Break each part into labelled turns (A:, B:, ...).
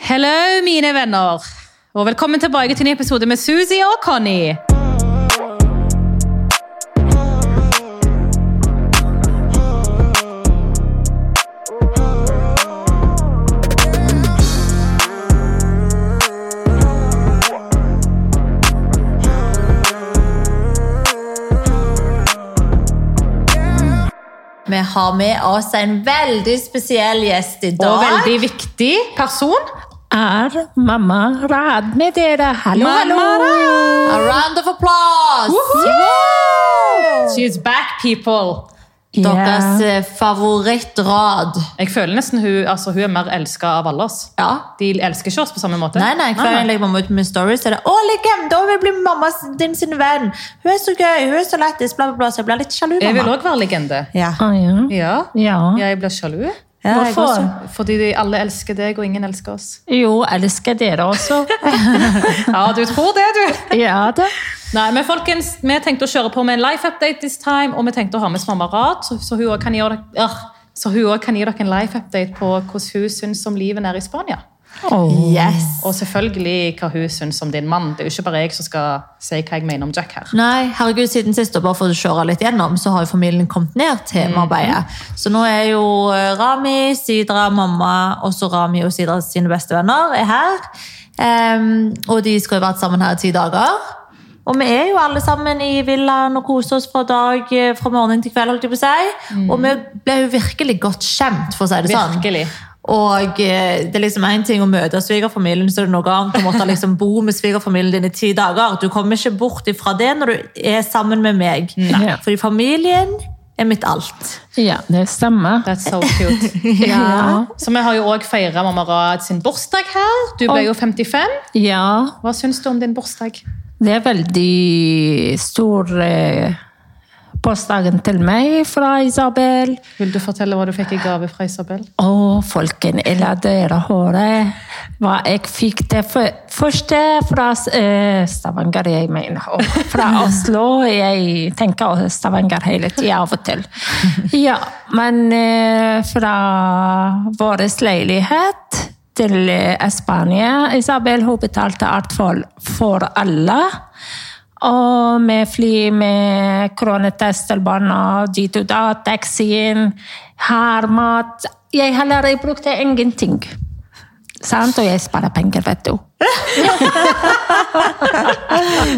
A: Hello, mine venner. Og velkommen tilbake til en ny episode med Susie og Connie.
B: Vi har med oss en veldig spesiell gjest i dag.
A: Og veldig viktig person.
C: er mamma Rad med dere. Hallo,
A: Mamma
C: hallo!
B: A round of applause!
A: She's back, people.
B: Deres eh, favorittrad.
A: Jeg føler nesten hun, altså, hun er mer elska av alle oss.
B: Ja.
A: De elsker ikke oss på samme måte.
B: Nei, nei, hver gang jeg legger mamma ut med stories, så er det 'Å, legg hjem! Da vil jeg bli mamma din sin venn!' 'Hun er så gøy! Hun er så lættis!' Bla, bla, bla. Så jeg blir litt sjalu,
A: Jeg vil
B: mamma.
A: òg være legende.
B: Ja.
C: Å, Ah, ja.
A: Ja.
C: Ja.
A: Jeg blir sjalu.
B: Ja, jeg
C: Hvorfor?
B: også.
A: Fordi de alle elsker deg, og ingen elsker oss.
C: Jo, elsker dere også.
A: Ja, du tror det, du.
C: Ja da.
A: Nei, men folkens, vi tenkte å kjøre på med en life update this time, og vi tenkte å ha med oss mamma Rad, så, så hun også kan gi dere, ah, så hun også kan gi dere en life update på hvordan hun syns om livet nede i Spania.
C: Å.
B: Yes.
A: Og selvfølgelig hva hun syns om din mann. Det er jo ikke bare jeg som skal si hva jeg mener om Jack her.
B: Nei, herregud, siden sist, og bare for å kjøre litt gjennom, så har jo familien kommet ned til Marbella. Så nå er jo eh, Rami, Sidra, mamma, også Rami og Sidra sine beste venner er her. Em, og de skal jo vært sammen her i ti dager. Og vi er jo alle sammen i villaen og koser oss fra dag, eh, fra morgen til kveld, holdt jeg på å si. Og vi ble jo virkelig godt kjent, for å si det sånn.
A: Virkelig.
B: Og eh, det er liksom én ting å møte svigerfamilien, så er det noe annet å måtte liksom bo med svigerfamilien din i ti dager. Du kommer ikke bort ifra det når du er sammen med meg.
C: Nei.
B: Fordi familien er mitt alt.
C: Ja, det stemmer.
A: That's so cute.
C: Ja.
A: Så vi har jo òg feira mamma Rad sin bursdag her. Du ble jo 55.
C: ja.
A: Hva syns du om din bursdag?
C: Det er veldig stor eh, påstagen til meg fra Isabel.
A: Vil du fortelle hva du fikk i gave fra Isabel?
C: Å, folken, eller dere hører hva jeg fikk det for, første fra eh, Stavanger, jeg mener. Og fra Oslo. Jeg tenker å, Stavanger hele tida av og til. Ja, men eh, fra vår leilighet til eh, Spania Isabel hun betalte alt for, for alle. Og med fly, med koronatest til barna, dit og da, taxien, her, mat Jeg heller jeg brukte ingenting. Sant? Og jeg sparer penger, vet du.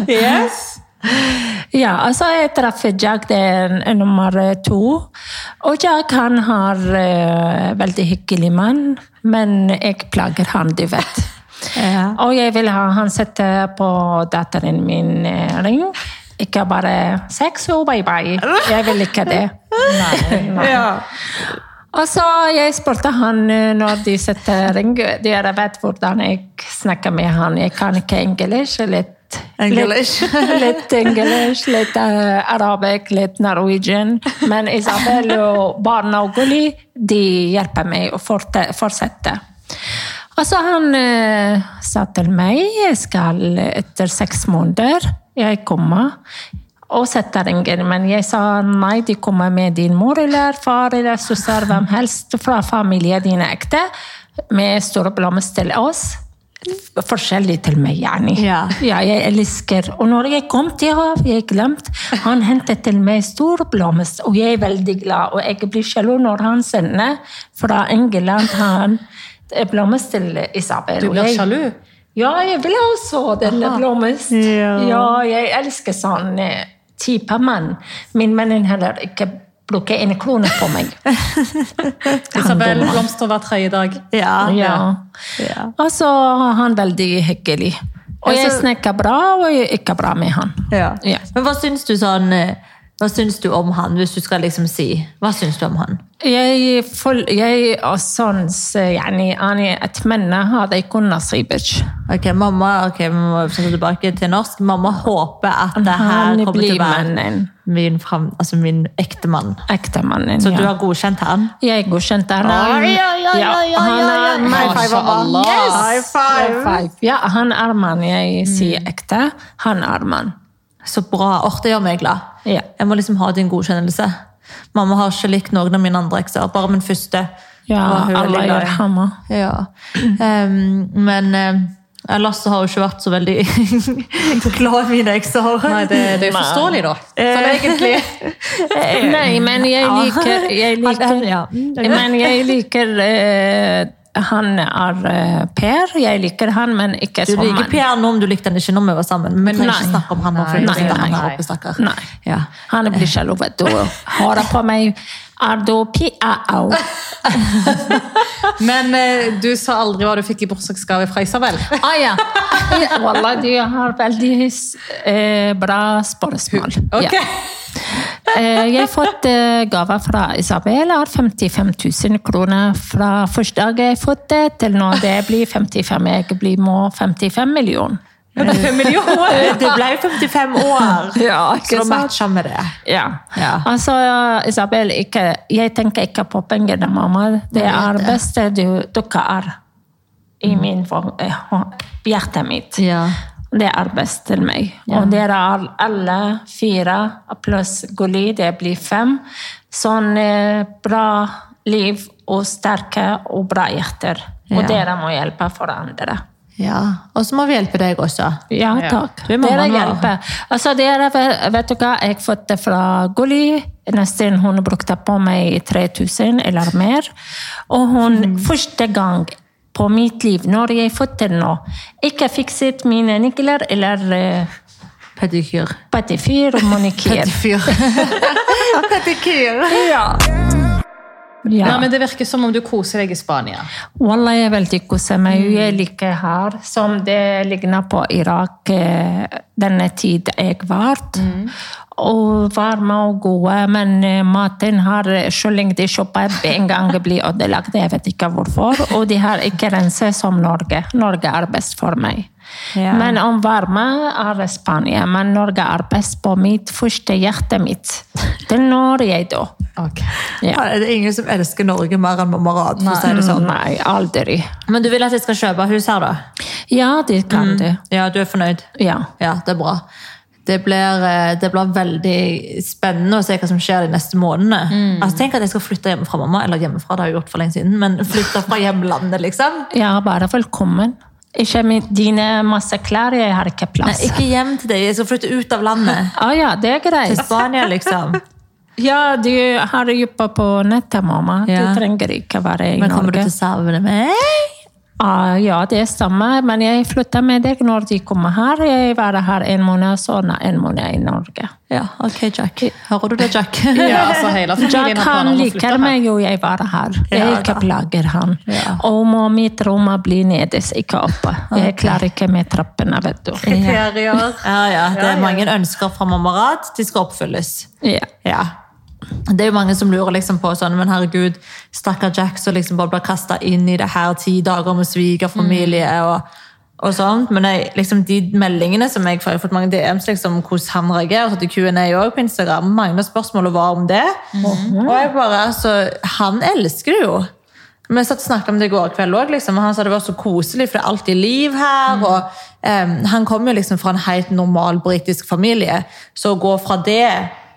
A: Yes.
C: Ja, altså jeg traff Jack, det er en- en nummer to. Og Jack han har eh, veldig hyggelig mann, men jeg plager han, du vet. Og jeg vil ha han sette på datteren min eh, ring. Ikke bare sex og bye-bye. Jeg vil ikke det. Nei, nei. Og så jeg spurte han eh, når de setter ring. Dere vet hvordan jeg snakker med han. Jeg kan ikke engelsk. Litt
B: English.
C: Litt, litt engelsk, litt eh, arabisk, litt norwegian. Men Isabel og barna og Gulli de hjelper meg å forte- fortsette. Og så han eh, sa til meg jeg skal etter seks måneder jeg kommer og setter ringen. Men jeg sa nei, de kommer med din mor eller far eller søster, hvem helst fra familien din er ekte, med store blomster til oss. Forskjellig til meg, gjerne.
B: Ja.
C: jeg elsker. Og når jeg kom til ham, jeg glemte, han hentet til meg stor blomst, og jeg er veldig glad. Og jeg blir sjalu når han sender fra England han eh, blomst til Isabel.
A: Du
C: Og
A: blir
C: jeg-
A: sjalu?
C: ja, jeg vil også denne blomst. Ja. jeg elsker sånn eh, type mann. Min mann heller ikke bruker en krone på meg.
A: Isabel blomster hver tredje dag.
B: Ja.
C: Ja.
B: Ja.
C: Og så er han veldig hyggelig. Og jeg
B: Altså-
C: snakker bra, og jeg er ikke bra med han. Ja.
B: Men hva syns du sånn eh, Hva syns du om han, hvis du skal liksom si Hva syns du om han?
C: Jeg, fol- jeg er sånn, så, يعني, أنا أتمنى هذا يكون نصيبك.
B: Ok, mamma, ok, vi må sette tilbake til norsk. Mamma håper at det her kommer
C: Han
B: til å
C: blir
B: være
C: mannen.
B: min, fram, altså min ekte mann.
C: Ekte mannen,
B: Så du
C: ja.
B: har godkjent han?
C: Jeg godkjente han.
B: Oi, oi, oi,
C: Ja,
B: oi, oi,
C: han
B: oi,
C: er
B: oi.
C: mannen.
B: High five, mamma.
A: Mashallah.
C: Yes.
B: High five.
C: Ja, han er mann. Jeg
B: Mm.
C: sier ekte. Han er mann.
B: Så bra. Åh, det gjør meg glad.
C: Ja.
B: Jeg må liksom ha din godkjennelse. Mamma har ikke likt noen av mine andre ekser, bare min første.
C: Ja,
B: var hun veldig
C: alle
B: glad i.
C: gjør hammer.
B: Ja. Ehm, men eh, ellers så har hun ikke vært så veldig glad i mine ekser.
A: Nei, det, det er jo forståelig, da. Sånn egentlig.
C: Nei, men jeg
B: Eh, Ja.
C: liker, Mm,
B: Han-
C: jeg liker
B: ja.
C: Men jeg liker eh, Han er eh, Per. Jeg liker han, men ikke
B: Du
C: som
B: liker
C: han.
B: Per nå om du likte henne ikke når vi var sammen. Men vi trenger ikke
C: sånn. Nei.
B: snakke om han nå, for
A: Nei,
B: jeg sitter
C: nei,
B: han
A: nei.
B: her oppe, stakkar.
C: Nei.
B: Ja.
C: Han blir sjalu, vet du. Hører på meg. Er du P-A-O?
A: Men eh, du sa aldri hva du fikk i bursdagsgave fra Isabel.
C: Ah, ja. Wallah, du har veldig eh, bra spørsmål.
A: Ok.
C: Ja. Eh, Jeg har fått eh, gave fra Isabel. Jeg har 55 000 kroner fra første dag jeg fått det, til nå det blir 55. Jeg blir må 55 millioner.
A: Men det er fem millioner.
B: Du Eh, ble jo 55 år,
C: Ja,
B: så da matcher vi det.
C: Ja.
B: Ja.
C: Altså, Isabel, ikke, jeg tenker ikke på pengene, mamma. Det er det beste du, dere er i min, for- eh, hjertet mitt.
B: Mm. Ja.
C: Det er best til meg. Og dere er alle fire, pluss Goli, det blir fem. Sånn eh, bra liv og sterke og bra hjerter. Og
B: Ja.
C: dere må hjelpe hverandre.
B: ja. Og så må vi hjelpe deg også.
C: Ja, takk.
B: Det må
C: Dere
B: man være.
C: hjelper. Altså, dere, ve- vet du hva, jeg fått det fra Goli. Nesten hun brukte på meg 3000 eller mer. Og hun, første gang på mitt liv, når jeg fått det nå, ikke fikset mine nikler eller uh,
B: Pedikyr.
C: patifyr og manikyr.
B: Pedikyr. Pedikyr.
C: ja.
A: Nei,
C: ja.
A: men det virker som om du koser deg i Spania.
C: Wallah, jeg er veldig koser meg. Jeg liker her, som det ligner på Irak eh, denne tid jeg var. Og varme og gode, men eh, maten har kylling de kjøper en gang blir ødelagt. Jeg vet ikke hvorfor. Og de har ikke renset som Norge. Norge er best for meg.
B: Ja.
C: Men om varme er Spania. Men Norge er best på mitt første hjerte mitt. Til når jeg da. Ja.
B: Det er ingen som elsker Norge mer enn Marad, for å si det sånn.
C: Nei, aldri.
B: Men du vil at jeg skal kjøpe hus her, da?
C: Ja, det kan du.
B: Ja, du er fornøyd?
C: Ja.
B: Ja, det er bra. Det blir, eh, det blir veldig spennende å se hva som skjer de neste månedene. Altså, tenk at jeg skal flytte hjemme fra mamma, eller hjemmefra, det har jeg gjort for lenge siden, men flytte fra hjemlandet, liksom.
C: Ja, bare velkommen. Ikke med dine masse klær, jeg har ikke
B: Nei,
C: plass.
B: ikke hjem til deg, jeg skal flytte ut av landet.
C: Å ja, det er
B: Til
C: greit.
B: Spania, liksom.
C: Ja, du har jobba på nettet, mamma.
B: Ja.
C: Du trenger ikke være i
B: Men kommer du
C: Norge.
B: til å savne meg?
C: Ah, ja, det stemmer, men jeg flytter med deg når de kommer her. Jeg var her en måned, så nei, en måned i Norge.
B: Ja, ok, Jack. Hører du det, Jack?
A: Ja, altså hele
C: Jack
A: familien har planer
C: han
A: om å
C: liker
A: flytte her.
C: meg jo, jeg var her.
B: Ja,
C: Jeg
B: da.
C: ikke plager han.
B: Ja.
C: Og må mitt rom bli nedes, ikke oppe. Jeg klarer ikke med trappene, vet du.
A: Kriterier.
B: Ja, ja, det er mange ønsker fra mamma Rad, de skal oppfylles.
C: Ja.
B: Ja. Det er jo mange som lurer liksom på sånn, men herregud, stakkar Jack som liksom bare blir kasta inn i det her ti dager med svigerfamilie og, og sånt. Men jeg, liksom, de meldingene som jeg får, jeg har fått mange DMs liksom, hvordan han reagerer, så til Q&A også på Instagram, mange spørsmål og var om det. Og jeg bare, altså, han elsker det jo. Vi satt og snakket om det i går kveld også, liksom. og han sa det var så koselig, for det er alltid liv her.
A: Mm.
B: Og, em, han kom jo liksom fra en helt normal britisk familie, så å gå fra det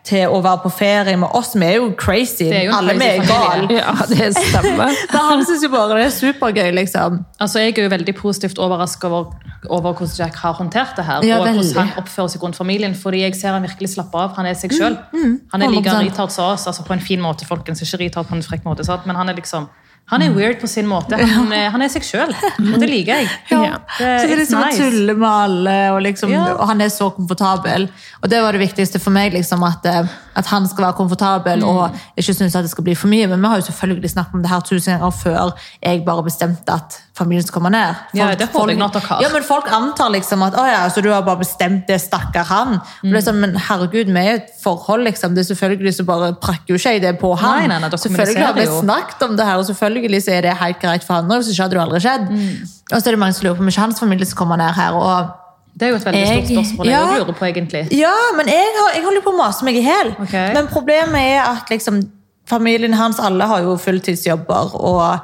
B: til å være på ferie med oss, vi er jo crazy.
A: Det er jo en
B: Alle vi
A: crazy
B: er
A: familie.
B: gale.
C: ja, det stemmer.
B: Så han synes jo bare det er supergøy, liksom.
A: Altså, Jeg er jo veldig positivt overrasket over, over hvordan Jack har håndtert det her.
B: Ja,
A: og
B: veldig. Mm,
A: hvordan han oppfører seg rundt familien. Fordi jeg ser han virkelig slapper av. Han er seg sjøl. Han er like
B: 100%.
A: retard som oss, altså på en fin måte, folkens. Ikke retard på en frekk måte, sant? men han er liksom han er weird på sin måte. Han, er- han er seg sjøl, og det liker jeg.
C: Ja.
A: Det,
B: Så det er
A: it's
B: liksom å
A: nice.
B: tulle med alle, og, liksom,
A: Ja.
B: og han er så komfortabel. Og det var det viktigste for meg, liksom, at, eh, at han skal være komfortabel
A: Mm.
B: og ikke synes at det skal bli for mye. Men vi har jo selvfølgelig snakket om det her tusen ganger før jeg bare bestemte at familien skal komme ned.
A: Ja, det håper jeg nå at dere har.
B: Ja, men folk antar liksom at å ja, så du har bare bestemt det, stakkar han. Og det
A: Mm.
B: er sånn, men herregud, vi er i et forhold, liksom. Det er selvfølgelig så bare prakker jo ikke jeg det på han.
A: Nei, nei, nei, dere
B: selvfølgelig har vi
A: kommuniserer jo.
B: snakket om det her, og selvfølgelig så er det helt greit for han også, så ikke hadde det jo aldri skjedd.
A: Mm.
B: Og så er det mange som lurer på om ikke hans familie skal komme ned her. og...
A: Det er jo et veldig stort
B: Jeg-
A: spørsmål jeg
B: Ja.
A: også lurer på, egentlig.
B: Ja, men jeg, har, jeg holder på å mase meg i hjel.
A: Ok.
B: Men problemet er at liksom, familien hans alle har jo fulltidsjobber, og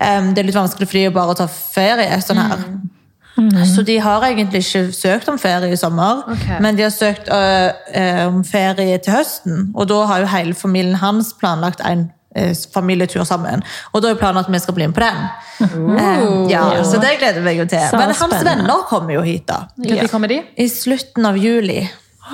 B: em, det er litt vanskelig for de å bare ta ferie sånn her. Så de har egentlig ikke søkt om ferie i sommer,
A: Ok.
B: men de har søkt ø, ø, om ferie til høsten. Og da har jo hele familien hans planlagt en ø, eh, familietur sammen. Og da er planen at vi skal bli med på den. Eh, ja, så det gleder jeg meg jo til.
C: Så
B: Men hans
C: spennende.
B: venner kommer jo hit, da.
A: Når kommer de?
B: I slutten av juli.
C: Å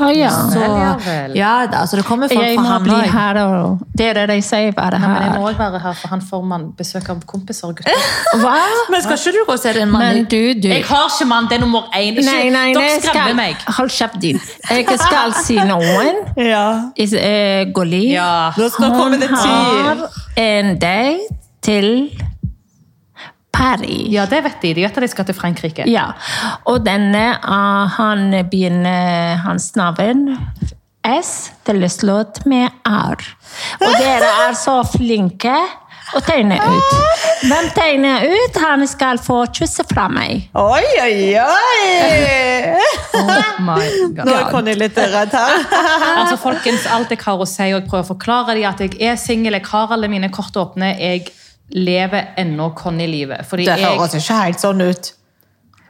C: Ah, ja.
B: Så,
A: ja vel.
B: ja da, så det kommer folk
C: Jeg
B: fra
C: må
B: han
C: bli
B: òg.
C: her, og dere de sier bare
A: Men jeg
C: her.
A: må også være her, for han får man besøk av kompiser og gutter.
C: Hva?
B: Men skal ikke du gå og se din mann?
C: Men du, du.
A: Jeg har ikke mann, det er nummer én. Ikke-
C: Nei, nei,
A: Dere
C: nei,
A: skremmer meg.
C: Hold kjeft din. Jeg skal si noen.
B: Ja.
C: Is- eh, Goli.
A: Ja.
B: Nå skal komme
C: Hun
B: det tid.
C: har en date til Paris.
A: Ja, det vet de. De vet at de skal til Frankrike.
C: Ja, og denne eh, han begynner hans navn S tilslått med R. Og dere er så flinke å tegne ut. Hvem tegner ut? Han skal få kysse fra meg.
B: Oi, oi, oi!
A: Oh my
B: Nå
A: God.
B: er Conny litt redd her.
A: Altså, folkens, alt jeg har å si, og jeg prøver å forklare dem at jeg er singel, jeg har alle mine kort åpne, jeg lever ennå Conny-livet. Fordi
B: Det
A: jeg
B: høres ikke helt sånn ut.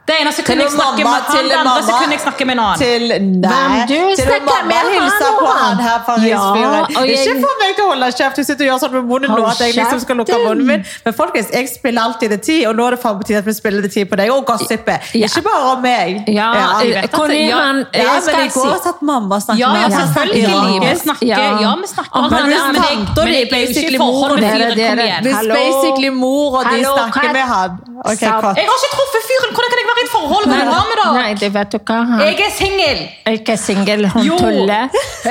A: Det ene
B: Til
A: sekundet jeg
B: og
A: snakker
B: mamma,
A: med han,
B: til
A: det andre
B: mamma.
A: sekundet jeg snakker med en annen.
B: Til nei,
C: Hvem du
B: til og
C: snakker
B: mamma
C: med,
B: hilser
C: han
B: på
C: og
B: han
C: han.
B: her fra
C: Ja,
B: Risfjorden.
C: og jeg-
B: Ikke få meg til å holde kjeft, du sitter og gjør sånn med munnen nå
C: Hold
B: at jeg liksom skal lukke
C: kjeften.
B: munnen min. Men folkens, jeg spiller alltid det tid, og nå er det faen på tide at vi spiller det tid på deg og gossipet.
C: Ja.
B: Ikke bare om meg.
C: Ja,
B: ja.
A: vet at-
C: Conny,
A: ja,
C: han
B: Ja,
C: jeg
B: men
C: skal
B: i går
C: si-
B: satt mamma og snakket
A: Ja,
B: med
A: ja,
B: han.
A: selvfølgelig.
B: Ja.
A: Vi snakker,
C: Ja.
A: ja, vi snakker om
C: Men
A: det,
C: du
A: men jeg,
B: snakker
A: men jeg ble jo ikke
B: basically
A: i forhold med
C: mor,
A: fyren.
C: dere-
A: Kom
C: dere-
A: igjen.
B: Hvis
C: Hallo?
B: basically mor og de
C: Hallo,
B: snakker
C: Kat.
B: med han. Ok,
C: Sa-
B: Kat.
A: Jeg har ikke truffet fyren! Hvordan kan jeg være i et forhold med en dame, da?
C: Nei, det vet du hva. Han
A: Jeg er singel!
C: er ikke singel. Hun
A: Jo.
C: tuller.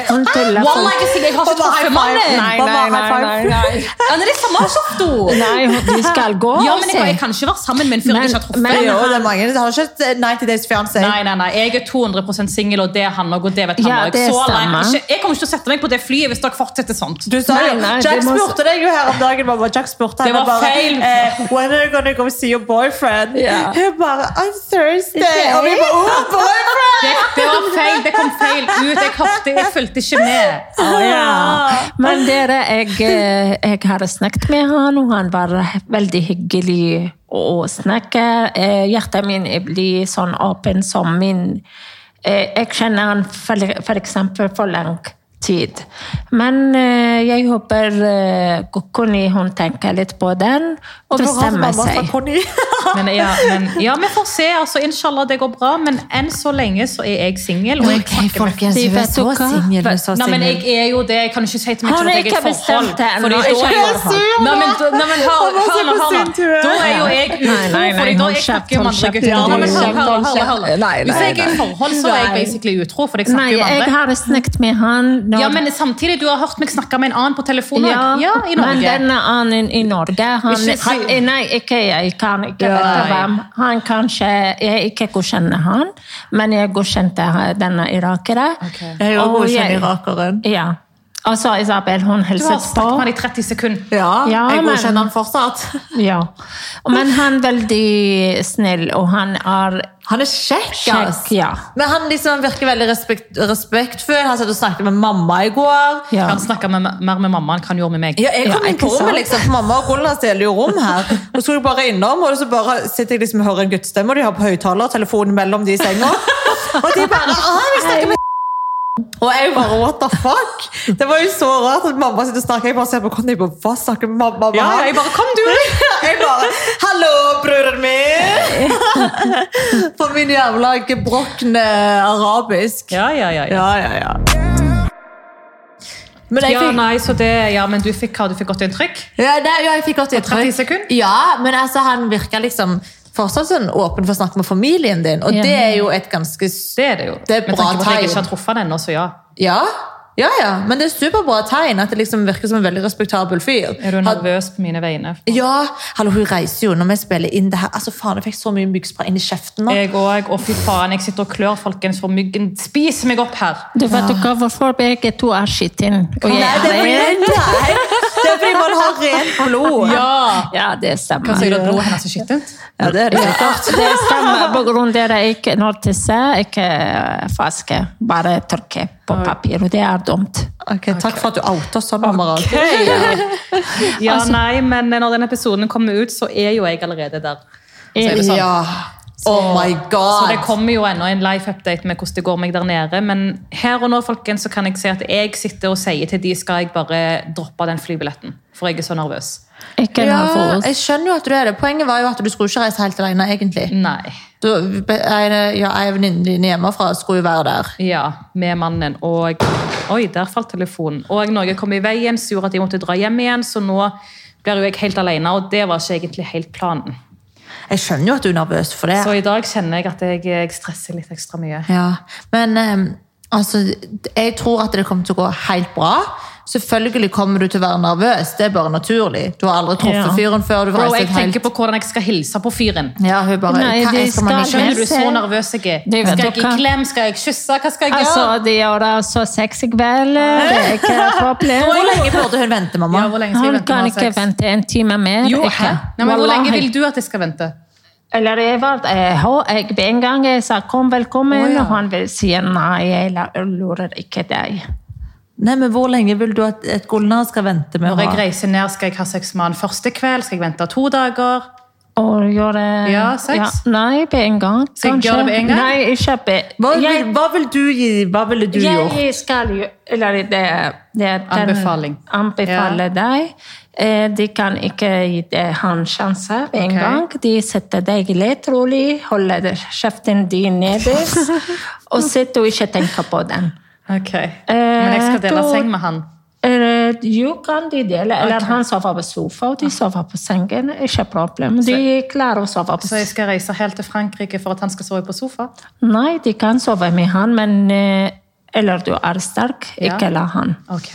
C: Hun tuller.
A: Wallah, jeg er singel! Jeg har ikke
B: Mamma, high
A: truffet
B: five.
A: mannen!
C: Nei,
B: Mamma, high
C: nei, nei,
B: five.
C: nei, nei.
A: Ja, men det er samme softo!
C: Nei, hun- vi skal gå
A: Ja,
C: og
A: men jeg,
C: se.
A: jeg kan ikke være sammen med en fyr jeg
C: Men-
A: ikke har truffet.
C: men-
B: Jo, det er mange. Det har ikke et 90 Days Fiancé.
A: Nei, nei, nei. Jeg er 200 singel, og det er han òg. Og det vet han
C: Ja,
A: også.
C: det
A: Så
C: stemmer.
A: langt. Ikke- Jeg kommer ikke til å sette meg på det flyet hvis dere fortsetter sånn. sånt.
B: Du sa
C: Nei,
B: jo,
C: nei,
B: Jack
C: det må-
B: spurte deg jo her om dagen, mamma. Jack spurte
A: Det
B: henne
A: var feil.
B: Eh, When are you gonna go see your boyfriend?
C: Ja.
B: Hun bare On Thursday! Og vi bare Oh, boyfriend!
A: Det, det var feil. Det kom feil ut. Jeg hørte, jeg fulgte ikke med.
C: Ja. Men dere, jeg, eh, jeg har snakket med han, og han var veldig hyggelig å snakke. Eh, Hjertet min blir sånn åpen som min eh, Jeg kjenner han for, for eksempel for lang tid. Men eh, jeg håper eh, Conny hun tenker litt på den og
B: Det var hans
C: bestemmer
B: mamma fra
C: seg.
B: Conny.
A: Men ja, men, ja, vi får se. Altså, Inshallah, det går bra. Men enn så lenge så er jeg singel. Og jeg snakker med
B: folkens.
C: vi er så single,
A: Nei, men jeg er jo det. Jeg kan ikke si til meg
C: Han
A: selv at
C: er
A: jeg er i et
C: ikke
A: forhold.
C: bestemt ennå.
A: fordi da
C: Ikke
A: er jeg-
C: bestemt.
A: Nei, men, da- nei, men hør,
B: Han var så
A: hør nå, hør nå.
B: bestemt, tror jeg.
A: Da er jo jeg utro,
C: Nei, nei, nei,
A: fordi da
C: hold
A: jeg
C: kjeft,
A: snakker jo med
C: hold
A: andre
C: kjeft.
A: gutter.
C: Ja,
A: Nei, men hør,
C: hold
A: hør, hør,
C: kjeft.
A: hør.
C: Nei, nei,
A: Hvis jeg er i
C: nei.
A: forhold, så er jeg basically utro, fordi jeg
C: Nei,
A: snakker jo med
C: jeg
A: andre.
C: har snakket med han. når-
A: Ja, men samtidig, du har hørt meg snakke med en annen på telefonen
C: Ja,
A: også. Ja, i
C: Men
A: Norge.
C: denne annen i Norge han,
A: Ikke si-
C: han, Nei, ikke jeg kan ikke
A: Ja,
C: vite
A: ja.
C: hvem. Han kanskje Jeg ikke godkjenner han, men jeg godkjente denne irakere.
A: Ok.
B: Jeg er jo
C: Og
B: godkjent
C: jeg-
B: irakeren.
C: Ja. Og så Isabel, hun
A: Du har
C: hilset på.
A: snakket med han i 30 sekunder.
B: Ja,
C: Ja,
B: jeg
C: men-
B: godkjenner han fortsatt.
C: Ja. Men han er veldig snill, og han er
B: Han er kjekk, ass.
C: kjekk. Ja.
B: Men han liksom virker veldig respekt, respektfull. Han satt og snakket med mamma i går.
C: ja.
A: Han snakker med, mer med mamma enn han gjorde med meg.
B: Ja, jeg kom
C: Ja,
B: inn på
C: ikke
B: rommet,
C: sant?
B: liksom, for mamma og Gunnar deler jo rom her. Og så skulle jeg bare innom, og så bare sitter jeg liksom og hører en guttestemme, og de har på høyttaler, telefonen mellom de i senga. Og de bare «Å, vi snakker med og jeg bare, what the fuck? Det var jo så rart at mamma sitter og snakker. Jeg bare ser på Conny på, hva snakker mamma med
A: Ja,
B: han?»
A: jeg bare, kom du!
B: Jeg bare, hallo, broren min! På min jævla gebrokne arabisk.
A: Ja, ja, ja. ja.
B: Ja, ja, ja. Men jeg
A: Ja,
B: fikk
A: nei, så det, ja, men du fikk hva du fikk godt inntrykk?
B: Ja, det, ja jeg fikk godt
A: På 30 sekund?
B: Ja, men altså, han virker liksom fortsatt sånn åpen for å snakke med familien din, og
C: Ja.
B: det er jo et ganske s-
A: Det er det jo.
B: Det er et
A: Med
B: bra
A: tanke på at jeg
B: tegn.
A: ikke har truffet den ennå, så ja.
B: Ja, ja, ja. Men det er superbra tegn at det liksom virker som en veldig respektabel fyr.
A: Er du
B: Han-
A: nervøs på mine vegne?
B: Ja, hallo, hun reiser jo når vi spiller inn det her. Altså, faen, jeg fikk så mye myggspray inn i kjeften nå.
A: Jeg òg. Og fy faen, jeg sitter og klør, folkens, for myggen spiser meg opp her.
C: Du vet du hva, hvorfor begge to er skitne? Og jeg
B: Nei, det er
C: er
B: fordi, nei, det er fordi man har rent blod.
A: Ja!
C: Ja, det stemmer.
A: Så er det blodet hennes er skittent?
B: Ja, det er det
C: Ja,
B: sikkert.
C: det stemmer. På grunn av dere ikke når tisse, ikke eh, vaske. Bare tørke på papir, og det er dumt.
B: Ok, takk for at du outa sånn, mamma.
A: Altså-
B: eh,
A: Ja, nei, men når den episoden kommer ut, så er jo jeg allerede der. Så er det sånn.
B: Ja, Oh my
A: Så
B: god!
A: det kommer jo ennå en life update med hvordan det går meg der nede. Men her og nå folkens, så kan jeg si at jeg sitter og sier til de skal jeg bare droppe den flybilletten. For jeg er så nervøs.
C: Ikke
B: ja,
C: nervøs.
B: jeg skjønner jo at du er det. Poenget var jo at du skulle ikke reise helt alene, egentlig.
A: Nei.
B: Du, en, ja, en venninne din hjemmefra skulle jo være der.
A: Ja, med mannen. Og Oi, der falt telefonen. Og noe kom i veien, så gjorde at jeg måtte dra hjem igjen. Så nå blir jo jeg helt alene, og det var ikke egentlig helt planen.
B: Jeg skjønner jo at du er nervøs for det.
A: Så i dag kjenner jeg at jeg, jeg stresser litt ekstra mye.
B: Ja, men eh, altså, jeg tror at det kommer til å gå helt bra. Selvfølgelig kommer du til å være nervøs, det er bare naturlig. Du har aldri truffet
C: Ja.
B: fyren før. du
A: Bro,
B: reiser
A: jeg
B: helt-
A: tenker på hvordan jeg skal hilse på fyren.
B: Ja, hun bare,
C: Nei,
B: hva
C: de
B: skal man ikke?
C: skal-
A: Skjønner du så nervøs jeg er?
C: Det vet
A: Skal jeg gi
C: dere.
A: klem? Skal jeg kysse? Hva skal jeg
C: Altså,
A: gjøre?
C: de gjør det så sexy kveld. Det er ikke et
B: Hvor
C: problem.
B: lenge burde hun vente, mamma?
A: Ja, hvor lenge skal jeg
C: Hun
A: vente
C: kan
A: med å ha
C: ikke
A: sex?
C: vente en time mer.
A: Jo,
C: ikke.
A: hæ? Nei, men hvor lenge
C: Wallahi.
A: vil du at jeg skal vente?
C: Eller jeg var, eh, hå- jeg, en gang jeg sa 'kom, velkommen',
A: Å, ja.
C: og han vil si 'nei, jeg la- lurer ikke deg'.
B: Nei, men hvor lenge vil du at et gulnar skal vente med å
A: Når jeg
B: ha?
A: reiser ned, skal jeg ha sex med han første kveld? Skal jeg vente to dager?
C: Og gjøre
A: Ja, sex.
C: Nei, på en gang.
A: Skal jeg gjøre det på en gang?
C: Nei, ikke be-
B: Hva, vil,
C: jeg,
B: hva vil du gi? Hva ville du gjort?
C: jeg skal jo Eller det, det er den-
A: Anbefaling.
C: Anbefale deg. Eh, De kan ikke gi deg han sjanse på en
A: Ok.
C: gang. De setter deg litt rolig, holder kjeften din nederst, og sitter og ikke tenker på den.
A: Ok. Men jeg skal dele
C: to-
A: seng med han.
C: Eller, jo, kan de dele. Eller
A: Ok. Ah.
C: han sover på sofa, og de sover på sengen. Ikke problem. De klarer å sove på
A: Så jeg skal reise helt til Frankrike for at han skal sove på sofa?
C: Nei, de kan sove med han, men eh, Eller du er sterk,
A: Ja.
C: ikke la han.
A: Ok.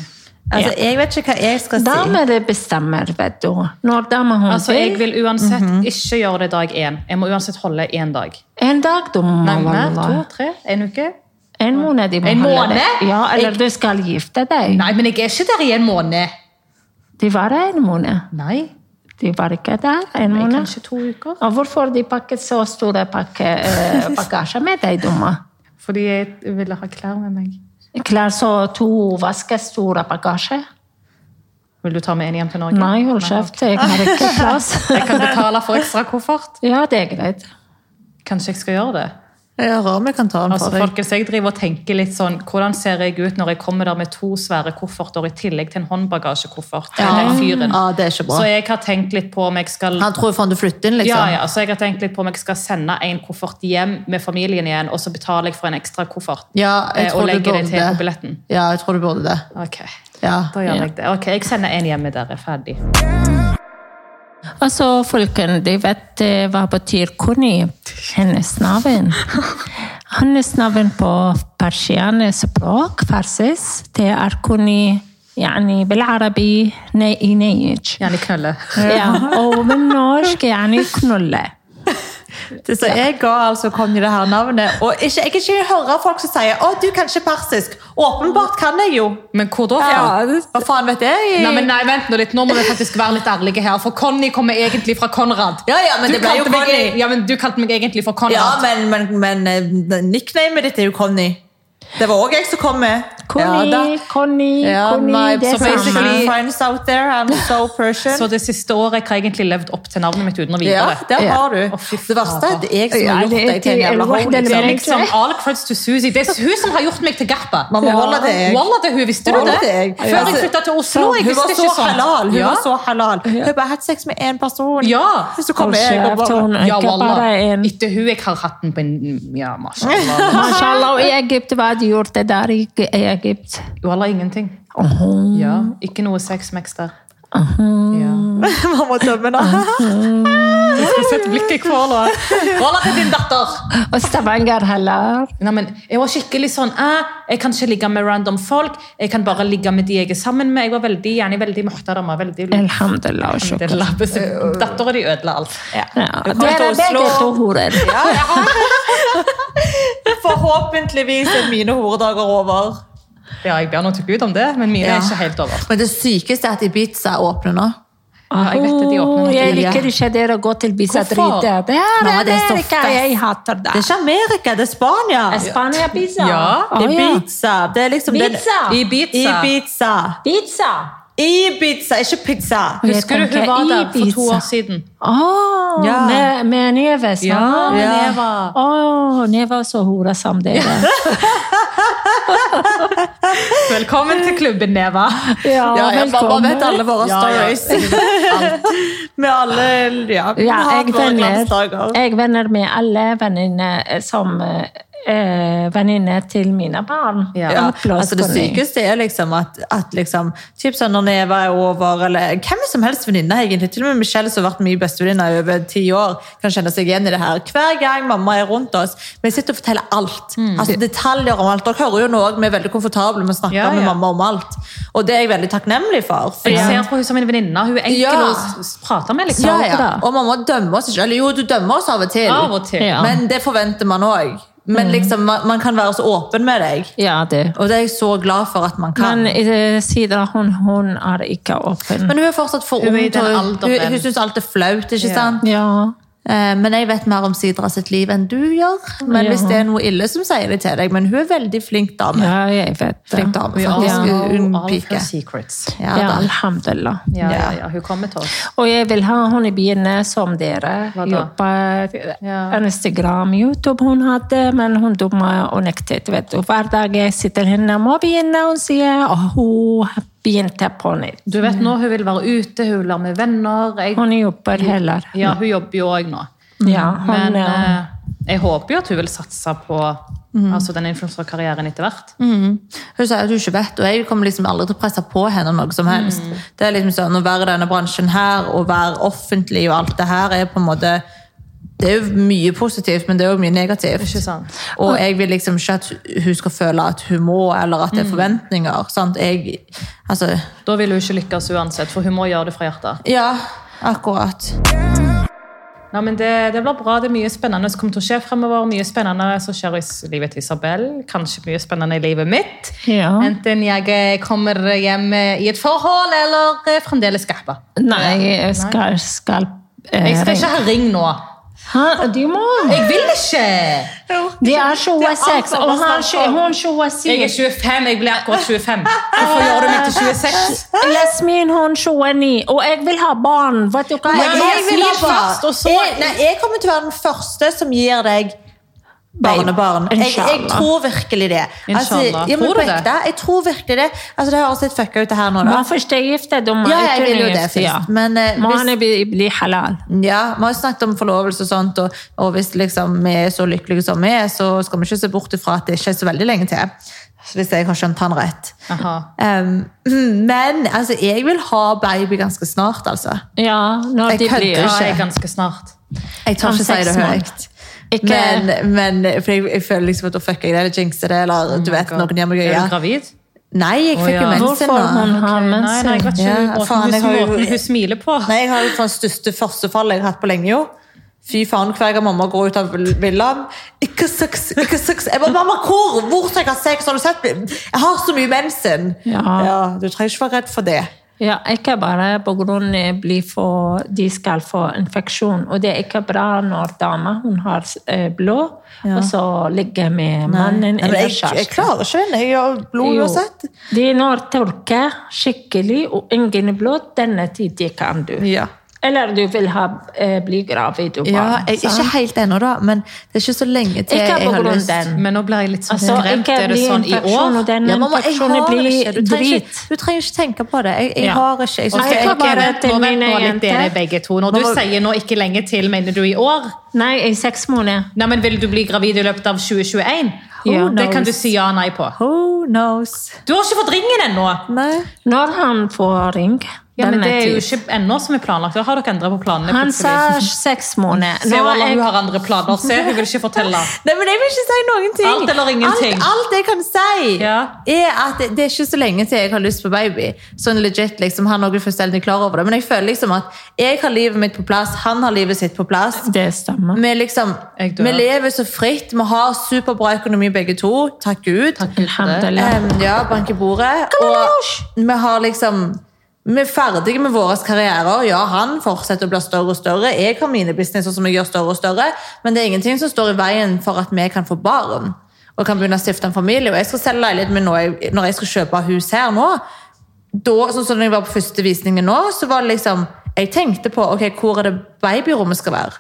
B: Altså, jeg vet ikke hva jeg skal si.
C: Damer det bestemmer, vet du. Når damer hun
A: Altså, jeg
C: vil.
A: vil uansett ikke gjøre det dag én. Jeg må uansett holde én dag.
C: En dag du må
A: Nei, mer,
C: holde.
A: to, tre, en uke?
C: En måned de må
A: En
C: holde
A: måned?
C: deg. Ja, eller du skal gifte deg.
A: Nei, men jeg er ikke der i en måned.
C: De var der en måned.
A: Nei,
C: De var ikke der
A: jeg
C: en måned.
A: kanskje to uker.
C: Og hvorfor de pakket så store pakke, eh, bagasjer med deg, dumme?
A: Fordi jeg ville ha klær med meg.
C: Klær så to vaskestore bagasje.
A: Vil du ta med en hjem til Norge?
C: Nei, hold kjeft, jeg har ikke plass.
A: Jeg kan betale for ekstra koffert.
C: Ja, det er greit.
A: Kanskje jeg skal gjøre det?
B: Jeg hører om jeg kan ta den
A: Altså,
B: for deg.
A: folkens, jeg driver og tenker litt sånn, Hvordan ser jeg ut når jeg kommer der med to svære kofferter i tillegg til en håndbagasjekoffert? til den fyren?
B: Ja, det er ikke bra.
A: Så jeg har tenkt litt på om jeg skal
B: Han tror jo faen du flytter inn,
A: ja,
B: liksom.
A: ja, så jeg har tenkt litt på om jeg skal sende en koffert hjem med familien igjen, og så betaler jeg for en ekstra koffert
B: Ja, jeg
A: eh,
B: tror
A: og
B: du
A: legger det
B: burde
A: til
B: det.
A: på billetten.
B: Ja, jeg tror du burde det.
A: Ok,
B: Ja.
A: da gjør jeg det. Ok, Jeg sender en hjem med dere. Ferdig.
C: Altså, folkene, de vet eh, hva betyr Conny, hennes navn. Hennes navn på persianes språk, farsis, det er Conny يعني بالعربي ني نيج
A: Gjerne knølle.
C: ja, og med norsk يعني knulle
B: Det- Så jeg ga altså Conny det her navnet, og ikke, jeg kan ikke høre folk som sier 'Å, du kan ikke persisk'. Åpenbart kan jeg jo.
A: Men hvor da? fra?
B: Hva faen vet jeg?
A: Nei, men nei, vent nå litt. Nå må vi faktisk være litt ærlige her, for Conny kommer egentlig fra Konrad.
B: Ja, ja, men
A: Du
B: det ble jo
A: kalte meg-
B: Conny.
A: Ja, men du kalte meg egentlig for
B: Ja,
A: Konrad.
B: men, men, men eh, nicknamet ditt er jo Conny. Det var òg jeg som kom med.
C: Conny,
B: da.
C: Conny,
B: Ja,
C: Conny,
B: my-
C: det
B: so
C: er samme.
B: basically friends out there, I'm so Persian.
A: Så det siste året har jeg egentlig levd opp til navnet mitt uten å vite
B: Ja,
A: det.
B: der
C: Ja.
B: har du.
A: Å, fy
B: Det verste er at det er jeg som
C: Ja,
B: har gjort
C: det er
B: deg til en
C: til
B: jævla
C: en
B: hore.
C: wahda
A: Det er
B: liksom.
C: levering.
A: liksom all creds to Susie. Det er hun som har gjort meg til garpa.
B: Mamma, wallah, det er jeg.
A: Wallah, det er hun. Visste du
B: Wallah,
A: det?
B: det er jeg.
A: Før jeg
B: Altså,
A: flytta til Oslo. Jeg
B: Hun var
A: visste
B: så
A: ikke sånn.
B: halal. Hun
A: Ja.
B: var så halal. Hun bare har hatt sex med én person.
A: Ja.
B: Så kommer
C: Hold
B: jeg og
C: kjeft,
B: bare
C: hun er
A: Ja,
C: ikke bare
A: wallah.
C: en.
A: Etter hun jeg har hatt den på en Ja, mashallah.
C: Mashallah, og i Egypt, hva de gjorde der i i Egypt?
A: Wallah, ingenting.
C: Åhå.
A: Ja. Ikke noe sex-mex der. Ja.
B: Mamma dømmer da.
A: Jeg skal sette blikket i kvar nå. Wallah til din datter!
C: Og Stavanger heller.
A: Nei, men jeg var skikkelig sånn eh, Jeg kan ikke ligge med random folk. Jeg kan bare ligge med de jeg er sammen med. Jeg var veldig gjerne veldig muhtadama. Veldig
C: Alhamdulillah. og shukr.
A: Dattera di ødela alt.
C: Ja,
B: Du kom til
C: dere
B: Oslo.
C: begge to horer.
B: Forhåpentligvis er mine horedager over.
A: Ja, jeg ber nå til Gud om det, men mine
B: Ja.
A: er ikke helt over.
B: Men det sykeste er at Ibiza åpner nå.
A: Ja, jeg vet at de åpner
C: Åh, jeg
B: tidlig, ja.
C: liker ikke dere å gå til Bisa
A: Hvorfor?
C: Drita. Det er
B: Mamma, det er så
C: Amerika,
B: fett.
C: jeg hater
B: Det
C: det.
B: er ikke Amerika, det er Spania.
C: Spania Bisa.
A: Ja,
C: Åh, Ah, ja.
B: Ibiza. Det er liksom den-
C: Ibiza.
A: Ibiza.
B: Ibiza.
C: Pizza!
B: Ibiza, ikke pizza!
C: Jeg
A: Husker du hun
C: tenker
A: var der for to
C: Ibiza.
A: år siden?
C: Åh,
B: Ja.
C: med, med Neves.
A: Ja,
C: Åh,
B: Ja.
A: Neva.
C: Åh, Neves og hora som dere.
A: Velkommen til klubben, Neva.
C: Ja,
B: Ja, jeg bare vet alle våre
A: Ja, ja.
B: stories. Med alle ja, vi
C: Ja,
B: har
C: jeg
B: våre
C: venner,
B: glansdager.
C: jeg venner med alle venninner som eh, venninner til mine barn.
A: Ja.
B: Ja,
C: Applaus
B: altså det
C: for meg.
B: sykeste er liksom at, at liksom, typ sånn når Neva er over, eller hvem som helst venninne egentlig, til og med Michelle som har vært mye bestevenninne i over ti år, kan kjenne seg igjen i det her. Hver gang mamma er rundt oss, vi sitter og forteller alt. Altså detaljer om alt. Dere hører jo nå også, vi er veldig komfortable med å snakke
A: Ja, ja.
B: med mamma om alt. Og det er jeg veldig takknemlig for. fordi-
A: Jeg ser på henne som en venninne. Hun er enkel
B: Ja.
A: å s- prate med, liksom.
B: ja, ja.
C: da.
B: Og mamma dømmer oss ikke. Eller jo, du dømmer oss av og til.
A: Av og til.
C: Ja.
B: Men det forventer man òg. Men liksom, man, man kan være så åpen med deg.
C: Ja, det.
B: Og det er jeg så glad for at man kan.
C: Men
A: Ah.
B: Men,
C: eh, siden hun, hun er ikke åpen.
B: hun er fortsatt for
A: Hun
B: ung.
A: er i den
B: til å-
A: alderen.
B: Hun, hun syns alt er flaut. ikke
A: Ja.
B: sant?
C: Ja.
B: Eh, Men jeg vet mer om Sidra sitt liv enn du gjør. Men
C: Ja.
B: hvis det er noe ille som sier det til deg, men hun er veldig flink dame.
C: ja, jeg vet det.
B: Flink dame,
A: We all
B: faktisk. Ung
A: know all her
B: pike.
A: secrets.
B: Ja,
C: Ja,
B: da.
C: alhamdulillah.
A: Ja, ja,
B: Ja.
A: ja. Hun kommer til oss.
C: Og jeg vil ha henne i byen eh, som dere.
A: Hva da?
C: Jobber
A: Ja.
C: Instagram, YouTube hun hadde, men hun dumma og nektet. vet du. Hver dag jeg sitter henne må begynne, hun sier, og hun begynte på nytt.
A: Du vet nå, hun vil være ute, hun vil være med venner. Jeg,
C: Hun jobber heller.
A: ja, hun jobber jo òg nå.
C: Ja, hun,
A: Men
C: eh,
A: eh, jeg håper jo at hun vil satse på altså, den influenserkarrieren etter hvert.
B: Hun sier at hun ikke vet, og jeg kommer liksom aldri til å presse på henne noe som helst.
A: Mm.
B: Det er liksom sånn, Å være i denne bransjen her, og være offentlig og alt det her, er på en måte Det er jo mye positivt, men det er jo mye negativt.
A: Ikke sant?
B: Og jeg vil liksom ikke at hun skal føle at hun må, eller at det
A: Mm.
B: er forventninger. sant? Jeg, altså,
A: Da vil hun ikke lykkes uansett, for hun må gjøre det fra hjertet.
B: Ja, akkurat.
A: Nei, men det, det blir bra. Det er mye spennende som kommer til å skje fremover. Mye spennende som skjer i s- livet til Isabel. Kanskje mye spennende i livet mitt.
C: ja.
A: Enten jeg eh, kommer hjem eh, i et forhold, eller eh, fremdeles skapper.
C: Nei, jeg skal, skal, eh,
A: Jeg skal ikke ha ring nå.
C: Ha, du må!
A: Jeg vil ikke!
C: Det er 26, og han, hun
A: Jeg
C: 27.
A: er 25. Jeg blir akkurat 25. Hvorfor gjør du meg til 26?
C: Yasmin, hun 29, og jeg vil ha barn. Vet du hva?
B: Nei,
A: Ja,
C: Jeg
A: jeg vil ha
B: bare-
A: først, og så-
B: jeg, nei, jeg kommer til å være den første som gir deg barnebarn. Jeg, jeg
C: Inshallah.
B: tror virkelig det. Altså,
A: Inshallah.
B: ja, men
A: Tror du
B: på
A: det?
B: ekte, Jeg tror virkelig det. Altså, det høres litt fucka ut det her nå, da.
C: Var først jeg gifte, da må
B: Ja,
C: jeg
B: jeg
C: kunne
B: vil jo det
C: gifte, ja.
B: først. Men eh,
C: Må
B: hvis,
C: han bli, bli halal.
B: ja, vi har jo snakket om forlovelse og sånt, og, og hvis liksom vi er så lykkelige som vi er, så skal vi ikke se bort ifra at det ikke er så veldig lenge til. Hvis jeg har skjønt han rett.
A: Aha.
B: Um, men altså, jeg vil ha baby ganske snart, altså.
C: Ja, når
B: Jeg
C: de
B: kødder
C: blir
A: Da
B: ikke.
A: er jeg ganske snart.
B: Jeg tør
C: Om
B: ikke si
C: seks
B: det
C: måneder.
B: høyt.
C: Ikke-
B: Men, men for jeg, jeg føler liksom at da fucker jeg det, eller jinxer det, eller
C: Oh
B: du vet, noen gjør meg
A: Er du
B: gøye.
A: gravid?
B: Nei, jeg
A: Å,
B: fikk jo
A: ja.
B: mensen
C: Hvorfor hun
B: nå.
C: har
A: Nei, nei, jeg
C: mensen?
A: vet ikke
B: Ja,
A: måten
B: faen, jeg
A: hun,
B: har jo-
A: måten hun smiler på.
B: Nei, jeg har jo sånn største første fall jeg har hatt på lenge, jo. Fy faen, hver gang mamma går ut av villaen Ikke sex, ikke sex. Jeg bare, mamma, hvor? Hvor skal jeg ha sex? Har du sett meg? Jeg har så mye mensen.
C: Ja.
B: du trenger ikke være redd for det.
C: Ja, ikke bare på grunn av bli for, de skal få infeksjon, og det er ikke bra når dama hun har eh, blå, og så ligger med
B: Nei,
C: mannen
B: men
C: eller
B: jeg, jeg
C: kjæresten.
B: klarer ikke det. Jeg har blod
C: Jo.
B: uansett.
C: Det er når tørke skikkelig, og ingen blod, denne tiden kan du.
B: Ja.
C: Eller du vil ha, eh, bli gravid og
B: Ja,
C: barn.
B: jeg,
C: sant?
B: ikke helt ennå, da, men det er ikke så lenge til
C: Ikke
B: altså. jeg
C: på
B: har
C: grunn
B: lyst.
C: den.
A: Men nå blir jeg litt sånn
C: Altså,
A: skremt.
C: ikke
A: Er det
C: bli
A: sånn i
C: infeksjon,
A: år?
C: og den
B: Ja, mamma, jeg
C: infeksjonen
B: har
C: blir
B: ikke. Du trenger
C: drit.
B: ikke, du trenger ikke tenke på det. Jeg, jeg
C: Ja.
B: har ikke. Jeg
C: Og
B: synes
C: så
B: det
C: er
B: er
A: Ok,
C: bare
A: vent
C: til
A: nå, vent nå
C: mine
A: litt dere
C: jenter.
A: begge to. Når du
B: Nå må-
A: sier nå ikke lenge til, mener du i år?
C: Nei, i seks måneder.
A: Nei, men Vil du bli gravid i løpet av 2021?
C: Ja.
A: Det kan du si ja og nei på.
B: Who knows?
A: Du har ikke fått ringen ennå!
B: Nei.
C: Når han får ring
A: Ja, men
C: denne
A: Det er jo
C: tid.
A: ikke ennå som er planlagt. Da har dere endret på planene.
C: Han sa
A: plutselig.
C: seks måneder.
A: Se
C: Nå
A: hva
C: er
A: hun
C: jeg,
A: har andre planer. Se, hun vil ikke fortelle.
B: Nei, men jeg vil ikke si noen ting.
A: Alt eller ingenting.
B: Alt, alt jeg kan si,
A: Ja.
B: er at det, det er ikke så lenge til jeg har lyst på baby. Sånn legit, liksom, Han er fullstendig klar over det. Men jeg føler liksom at jeg har livet mitt på plass, han har livet sitt på plass.
C: det
A: Mm.
C: stemmer.
B: Vi, liksom,
A: Jeg dør.
B: vi lever så fritt, vi har superbra økonomi begge to. Takk Gud.
C: Alhamdulillah.
B: Em, ja, bank i bordet. Og vi har liksom vi er ferdige med våre karrierer. Ja, Han fortsetter å bli større og større. Jeg har mine businesser som jeg gjør større og større. Men det er ingenting som står i veien for at vi kan få barn. Og kan begynne å stifte en familie. Og jeg skal selge leiligheten min nå, jeg- når jeg skal kjøpe hus her nå. da, sånn som når jeg var på første visningen nå, så var det liksom Jeg tenkte på ok, hvor er det babyrommet skal være.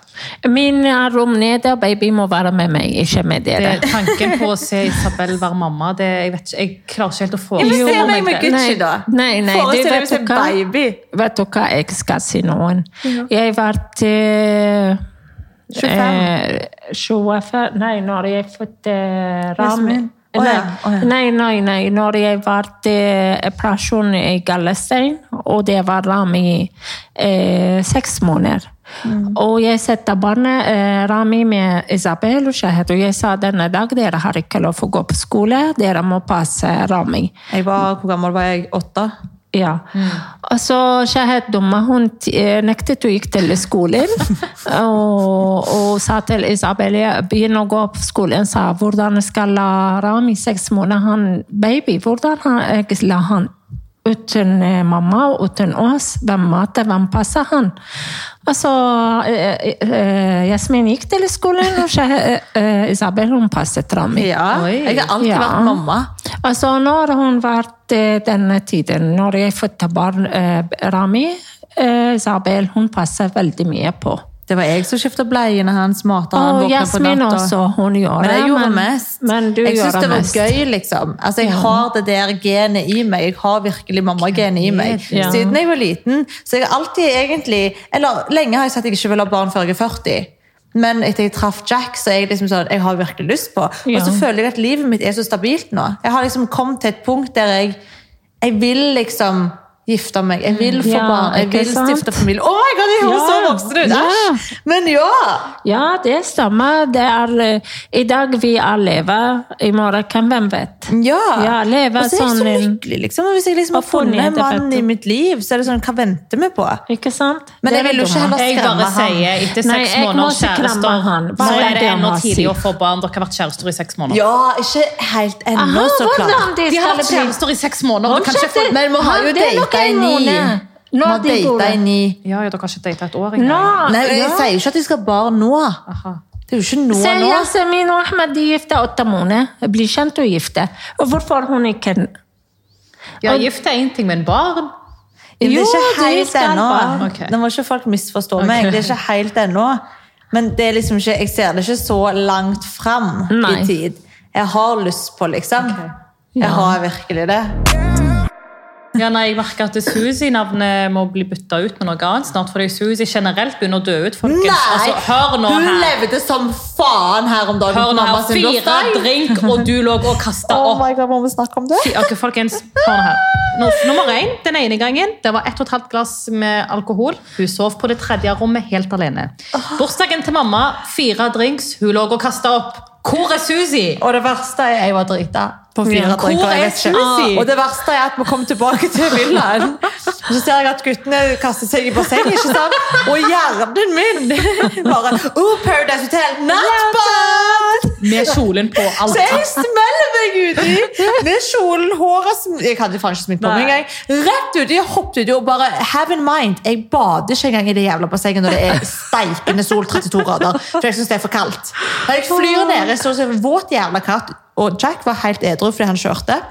C: Min er rom nede, og baby må være med meg, ikke med
A: Det
C: dere.
A: er Eh, tanken på å se Isabel være mamma. Det, jeg, vet ikke, jeg klarer ikke helt å få
B: Jeg vil
A: Jo,
B: se
A: men
B: meg med
A: det-
B: Gucci, da.
C: nei, nei, du
B: Forestill deg
C: vet
B: hvis jeg
C: hva?
B: er baby.
C: Vet du hva, jeg skal si noen. Jeg var til
B: 25.
C: Eh, 25 Nei, når jeg fødte Rami
B: Jasmin. Å ja, å ja.
C: nei, nei, nei. Når jeg var til operasjon eh, i Gallestein, og det var Rami eh, seks måneder.
B: Mm.
C: Og jeg setter barnet, eh, Rami, med Isabel og Shahed. Og jeg sa denne dag dere har ikke lov å gå på skole, dere må passe Rami.
B: Jeg var, Hvor gammel var jeg? Åtte?
C: Ja. Mm. Og så Shahed Dumma, hun t- eh, nektet å gikk til skolen. og, og sa til Isabel jeg begynner å gå på skolen. sa hvordan skal la Rami seks måneder han baby? Hvordan han, jeg la han uten eh, mamma og uten oss? Hvem mater, hvem passer han? Og så eh, eh, Jasmin gikk til skolen, og Shahed, eh, Isabel hun passet Rami.
B: Ja.
A: Oi.
B: Jeg har alltid
C: Ja.
B: vært mamma.
C: Altså, når hun var til denne tiden, når jeg fødte barn eh, Rami, eh, Isabel, hun passer veldig mye på.
B: Det var jeg som skifta bleiene hans, mata han,
C: Og
B: våkna på
C: Jasmin
B: natta.
C: også, hun gjør
B: Men
C: det.
B: jeg gjorde mest.
C: Men du
B: jeg syns
C: gjør
B: det var
C: mest.
B: gøy, liksom. Altså, jeg har det der genet i meg. Jeg har virkelig mammagenet i meg.
C: Ja.
B: Siden jeg var liten, så jeg har alltid egentlig Eller lenge har jeg sagt at jeg ikke vil ha barn før jeg er 40. Men etter jeg traff Jack, så er jeg liksom sånn Jeg har virkelig lyst på. Og så
C: Ja.
B: føler jeg at livet mitt er så stabilt nå. Jeg har liksom kommet til et punkt der jeg Jeg vil liksom gifte meg. Jeg vil få
C: Ja,
B: barn. Jeg
C: ikke
B: vil
C: sant?
B: stifte familie. Oh my god, jeg høres så
C: Ja.
B: voksen ut!
C: Ja.
B: Æsj! Men ja!
C: Ja, det stemmer. Det er, eh, I dag vi er lever, i morgen hvem hvem vet.
B: Ja.
C: Ja, leve
B: og så er jeg
C: sånn
B: så
C: en-
B: lykkelig, liksom. Og hvis jeg liksom har
C: Opp og
B: funnet
C: ned,
B: en
C: det vet
B: mann
C: du.
B: i mitt liv, så er det sånn, hva venter vi på?
C: Ikke sant?
B: Men
C: Det
B: jeg
C: er
B: vil jo ikke
C: det dumme.
B: heller
A: Jeg
B: skremme
A: bare
B: han.
A: sier etter
C: Nei,
A: seks
C: jeg må
A: måneder
C: ikke klemme han.
A: kjærester så
C: Bare
A: er det
C: det han
A: ennå
C: har
A: tidlig å
C: sykt.
A: få barn. Dere har vært kjærester i seks måneder.
B: Ja, ikke helt ennå,
C: Aha,
B: så
C: hvordan
B: klart.
C: det
A: De har
C: skal
A: vært
C: bli?
A: kjærester i seks måneder. Du kan ikke få...
C: Fortsetter-
B: Men vi har jo
C: det er nok
B: data i
C: en
B: ni.
C: måned.
B: Vi
C: Nå
B: har
C: de bor
B: data i
C: det.
B: ni.
A: Ja, ja, dere har ikke datet et år engang.
C: Nå!
B: Nei, men jeg
C: Ja.
B: sier jo ikke at de skal ha barn nå.
A: Aha.
B: Det er jo ikke nå
C: Se,
B: nå.
C: Yasemin og Ahmed de er gifte åtte måneder. Blir kjent og gifte. Og hvorfor hun ikke
A: Ja, gift er én ting, men barn
B: Men det
C: Jo,
B: er
C: de
B: ikke helt
C: skal
B: ennå.
C: barn.
A: Ok.
B: Nå må ikke folk misforstå meg.
A: Ok.
B: Det er ikke helt ennå. Men det er liksom ikke, jeg ser det ikke så langt fram
C: Nei.
B: i tid. Jeg har lyst på, liksom. Jeg har virkelig det.
A: Ja, nei, Jeg merker at Suzy-navnet må bli bytta ut med noe annet snart. Fordi Suzy generelt begynner å dø ut, folkens.
B: Nei!
A: Altså, hør nå
B: hun
A: her.
B: levde som faen her om dagen
A: Hør
B: på
A: nå
B: mamma
A: her.
B: sin
A: Fire
B: bursdag.
A: drink, og du lå og kasta
B: Oh
A: opp.
B: my god, må vi snakke om det?
A: Fy- Ok, folkens, hør nå her. Nå- Nummer én, den ene gangen, det var ett og et halvt glass med alkohol. Hun sov på det tredje rommet helt alene. Bursdagen til mamma, fire drinks, hun lå og kasta opp. Hvor er Suzy?
B: Og det verste er jeg var drita på
A: Ja,
B: fire
A: hvor
B: drinker. jeg
A: er
B: vet ikke.
A: Susi?
B: Og det verste er at vi kom tilbake til villaen. Og så ser jeg at guttene kaster seg i bassenget, ikke sant? Og hjernen min bare Oh, Paradise Hotel! Nattbad!
A: Med kjolen på
B: Så jeg
A: alt.
B: smeller meg uti med kjolen, håret sm- Jeg hadde faen ikke sminke på
A: Nei.
B: meg engang. Rett uti, jeg hoppet uti og bare Have in mind, jeg bader ikke engang i det jævla bassenget når det er steikende sol 32 grader. For jeg syns det er for kaldt. Men jeg flyr ned, jeg står som en våt jævla katt, og Jack var helt edru fordi han kjørte.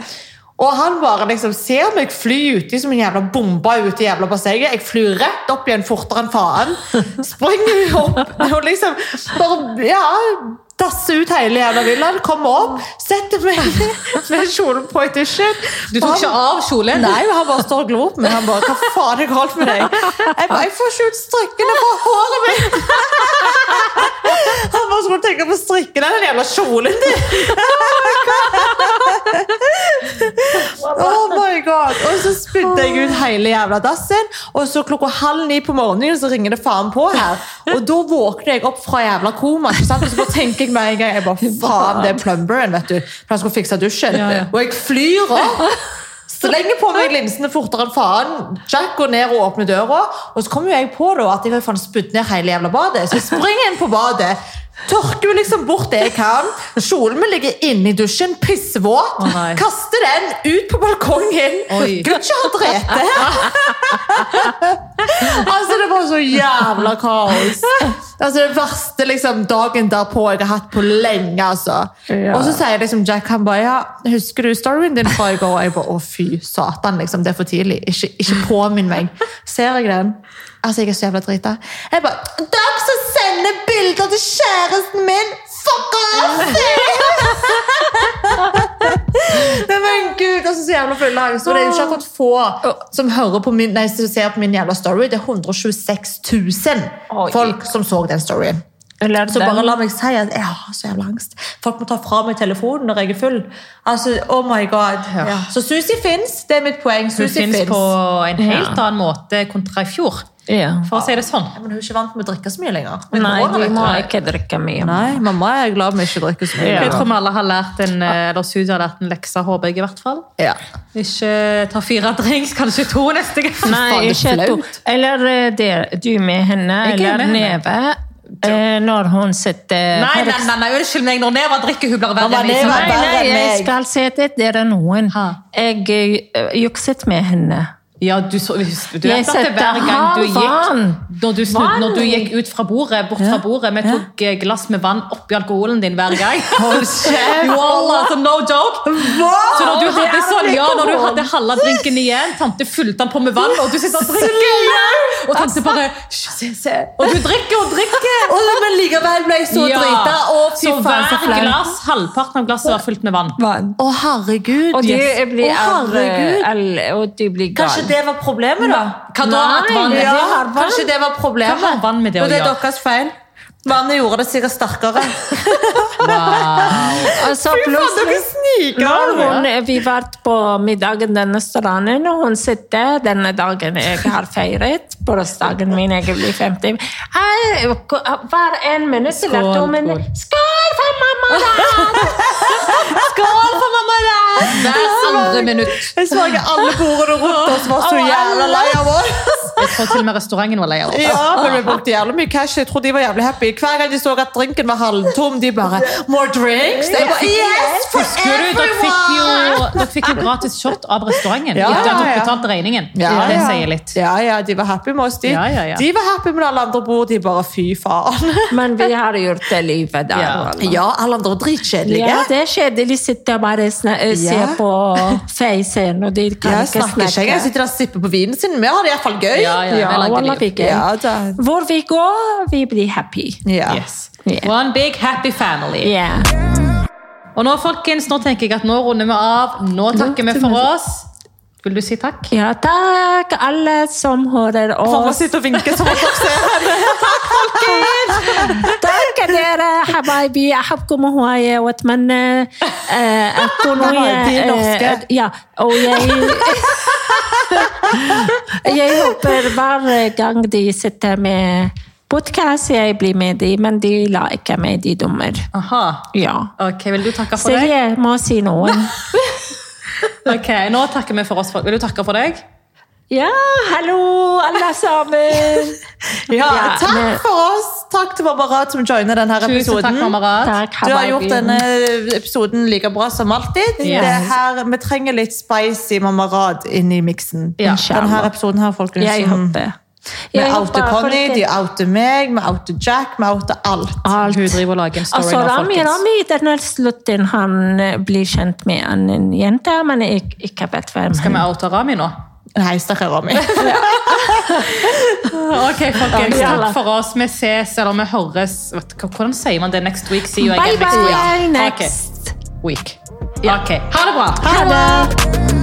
B: Og han bare liksom ser meg fly uti som en jævla bombe ute i jævla bassenget. Jeg flyr rett opp igjen fortere enn faen. Springer opp og liksom bare Ja. Dasse ut hele jævla villaen, komme opp, setter meg med kjolen på i dusjen.
A: Du tok ikke av kjolen?
B: Nei, han bare står og glor på meg. Han bare, hva faen er galt med deg? Jeg bare, jeg får ikke ut strikkene fra håret mitt. Han bare skulle tenke på strikkene, den jævla kjolen din. Oh my god! Og så spydde jeg ut hele jævla dassen. Og så klokka halv ni på morgenen så ringer det faen på her. Og da våkner jeg opp fra jævla koma. Ikke sant? Og så bare tenker jeg meg en gang jeg bare, faen, det er plumberen, vet du. For han skulle fikse dusjen.
A: Ja, ja.
B: Og jeg flyr opp. Slenger på meg linsene fortere enn faen. Jack går ned og åpner døra. Og så kommer jo jeg på da, at jeg har faen spydd ned hele jævla badet. Så jeg springer inn på badet. Tørker jo liksom bort det jeg kan. Kjolen min ligger inne i dusjen, pissvåt.
A: Å, nei.
B: Kaster den ut på balkongen.
A: Oi.
B: Gud, ikke ha drete her! altså, det var så jævla kaos. Altså, det verste liksom, dagen derpå jeg har hatt på lenge, altså.
C: Ja.
B: Og så sier liksom Jack, han bare, ja, husker du storyen din fra i går? Og jeg bare, å fy, satan, liksom, det er for tidlig. Ikke, ikke påminn meg. Ser jeg den? Altså, jeg er så jævla drita. Jeg bare, Dag som sender bilder til kjæresten min! Fuck off! Nei, men gud, altså så jævla fulle angst. Og det er jo ikke akkurat få som hører på min, nei, som ser på min jævla story. Det er 126 000
C: Oi.
B: folk som så den storyen.
C: Eller
B: Så
C: den-
B: bare la meg si at jeg har så jævla angst. Folk må ta fra meg telefonen når jeg er full. Altså, oh my god. Ja. Så Susi fins, det er mitt poeng.
A: Hun
B: Susi
A: finnes
B: finnes.
A: på en helt
C: Ja.
A: annen måte kontra i fjor,
C: Ja.
A: for å si det sånn.
B: Ja, Men hun er ikke vant med å drikke så mye lenger. Med
C: Nei,
B: korona,
C: de
B: vet
C: må
B: du.
C: ikke drikke mye.
B: Nei, mamma er glad vi ikke drikker så mye.
C: Ja.
A: Jeg tror vi alle har lært en, eh, eller Suzy har lært en lekse, håper jeg i hvert fall.
B: Ja.
A: Ikke ta fire drinks, kanskje to neste gang.
C: Nei,
B: Faen,
C: ikke
B: det er
C: to. Eller eh, det- du med henne,
A: Jeg er
C: eller
A: med henne.
C: Neve. eh, Når hun sitter
A: Nei,
C: For
A: nei, nei, nei, unnskyld meg, når Neva drikker, hun blir verre
B: Mamma,
A: enn vi
B: Eh, Neva
A: som
B: er
A: er.
B: verre.
C: Nei,
B: enn
C: jeg
B: meg.
C: skal si at det er noen.
A: Ha.
C: Jeg eh, jukset med henne.
A: Ja, du, så, du vet
C: Jeg
A: at det hver
C: setter
A: gang du
C: halv
A: gikk
C: vann.
A: når du, snudde,
C: Vann.
A: når du gikk ut fra bordet, bort fra bordet Vi tok eh, glass med vann oppi alkoholen din hver gang. Jo, Allah, altså, no joke! Så når du
C: Det
A: hadde
C: er
A: sånn, ja, når du
C: alkohol.
A: hadde halve drinken igjen, tante fylte den på med vann, og du sitter og drikker igjen! Og tante
B: Altså.
A: bare «Hysj, se, se. Og du drikker og drikker!
B: Å, men likevel ble jeg så
A: Ja.
B: drita. Å, fy
A: Så
B: faen, så
A: hver
B: flaut.
A: glass, halvparten av glasset var fylt med vann.
B: Å, herregud.
C: Og de
B: yes.
C: blir,
B: Å,
A: eh,
C: all-
B: herregud.
C: all- og de blir gal.
B: Kanskje det var problemet, da?
A: Hva da? At vann-
B: ja,
A: det har vann.
B: kanskje det var problemet.
A: Hva har vann med det å
B: Men det er
A: gjøre?
B: deres feil. Vannet gjorde det sikkert sterkere.
C: Og så altså, plutselig når hun, vi var på middagen den restauranten, og hun sitter denne dagen jeg har feiret, bursdagen min, jeg blir 50 Her, Hver en minutt eller to
A: Skål,
C: minutter Skål for mamma! da!
A: Skål for mamma! Hver andre minutt.
B: Jeg så ikke alle bordene rundt oss var så jævla lei av oss.
A: Jeg tror til og med restauranten var lei av oss.
B: Ja, men vi brukte jævlig mye cash. Jeg tror de var jævlig happy. Hver gang de så at drinken var halvtom, de bare More drinks? Jeg bare, yes, for
A: Husker du, dere fikk, jo, dere fikk jo gratis shot av restauranten
B: Ja,
A: etter at
B: ja,
A: dere
B: ja.
A: betalte regningen.
B: Ja,
A: Det
B: ja.
A: sier litt.
B: Ja, ja, de var happy med oss, de.
A: Ja, ja, ja.
B: De var happy med alle andre bord. De bare fy faen.
C: Men vi har gjort det livet der.
A: Ja.
C: wallah.
B: Ja, alle andre var dritkjedelige.
C: Ja, det er kjedelig. Sitter og bare sna- eh, ser
B: Ja.
C: på Facen, og de kan
B: Jeg
C: ikke
B: snakker ikke
C: snakke.
B: engang. Sitter der og sipper på vinen sin. Vi har det iallfall gøy.
A: Ja, ja,
C: Ja,
A: vi lagde liv.
C: wallah, vi gøy.
B: Ja, da.
C: Hvor vi går, vi blir happy.
B: Ja.
A: Yes.
C: Ja.
A: One big happy family.
C: Yeah.
A: Og nå, folkens, nå tenker jeg at nå runder vi av. Nå takker vi for oss. Vil du si takk?
C: Ja, takk alle som hører
B: Mamma
C: oss.
B: sitter og vinker som om dere ser henne.
C: Takk dere, habibi. أحبكم هواية وأتمنى آه، أكون
B: Det var de norske.
C: آه، Ja, og jeg Jeg håper hver gang de sitter med podkast, jeg blir med de, men de la ikke meg, de dummer.
A: Aha.
C: Ja.
A: Ok, Vil du takke
C: Så
A: for deg?
C: jeg må si noen.
A: Ok, nå takker vi for oss. Vil du takke for deg?
C: Ja, hallo, alle sammen.
B: Ja,
C: Ja, men-
B: takk for oss. Takk til Barbarat som joina denne
A: Tusen takk,
B: episoden.
A: kamerat.
C: Takk,
B: Du har
C: habibi.
B: gjort denne episoden like bra som alltid.
A: Yes.
B: Det her, vi trenger litt spicy mamarat inn i miksen.
A: Ja.
B: Denne episoden her, folkens.
C: Jeg
B: som-
C: håper.
B: Vi
C: Jeg
B: outer
C: håper,
B: Conny,
C: folkens.
B: de outer meg, vi outer Jack, vi outer alt.
C: Alt.
A: Hun driver og lager en story
C: Altså,
A: nå,
C: Rami,
A: folkens.
C: Rami, denne slutten, han eh, blir kjent med en, en jente, men jeg ikke vet hvem
A: Skal vi
C: han
A: oute Rami nå?
B: Nei, stakkar Rami.
A: Ok, folkens.
C: Ja.
A: Takk for oss. Vi ses, eller vi høres. Vet du hva- Hvordan sier man det? Next week? See you
C: Bye
A: again next week.
C: bye,
A: Ok.
C: next.
A: week. Ok, ha det bra!
B: Ha det!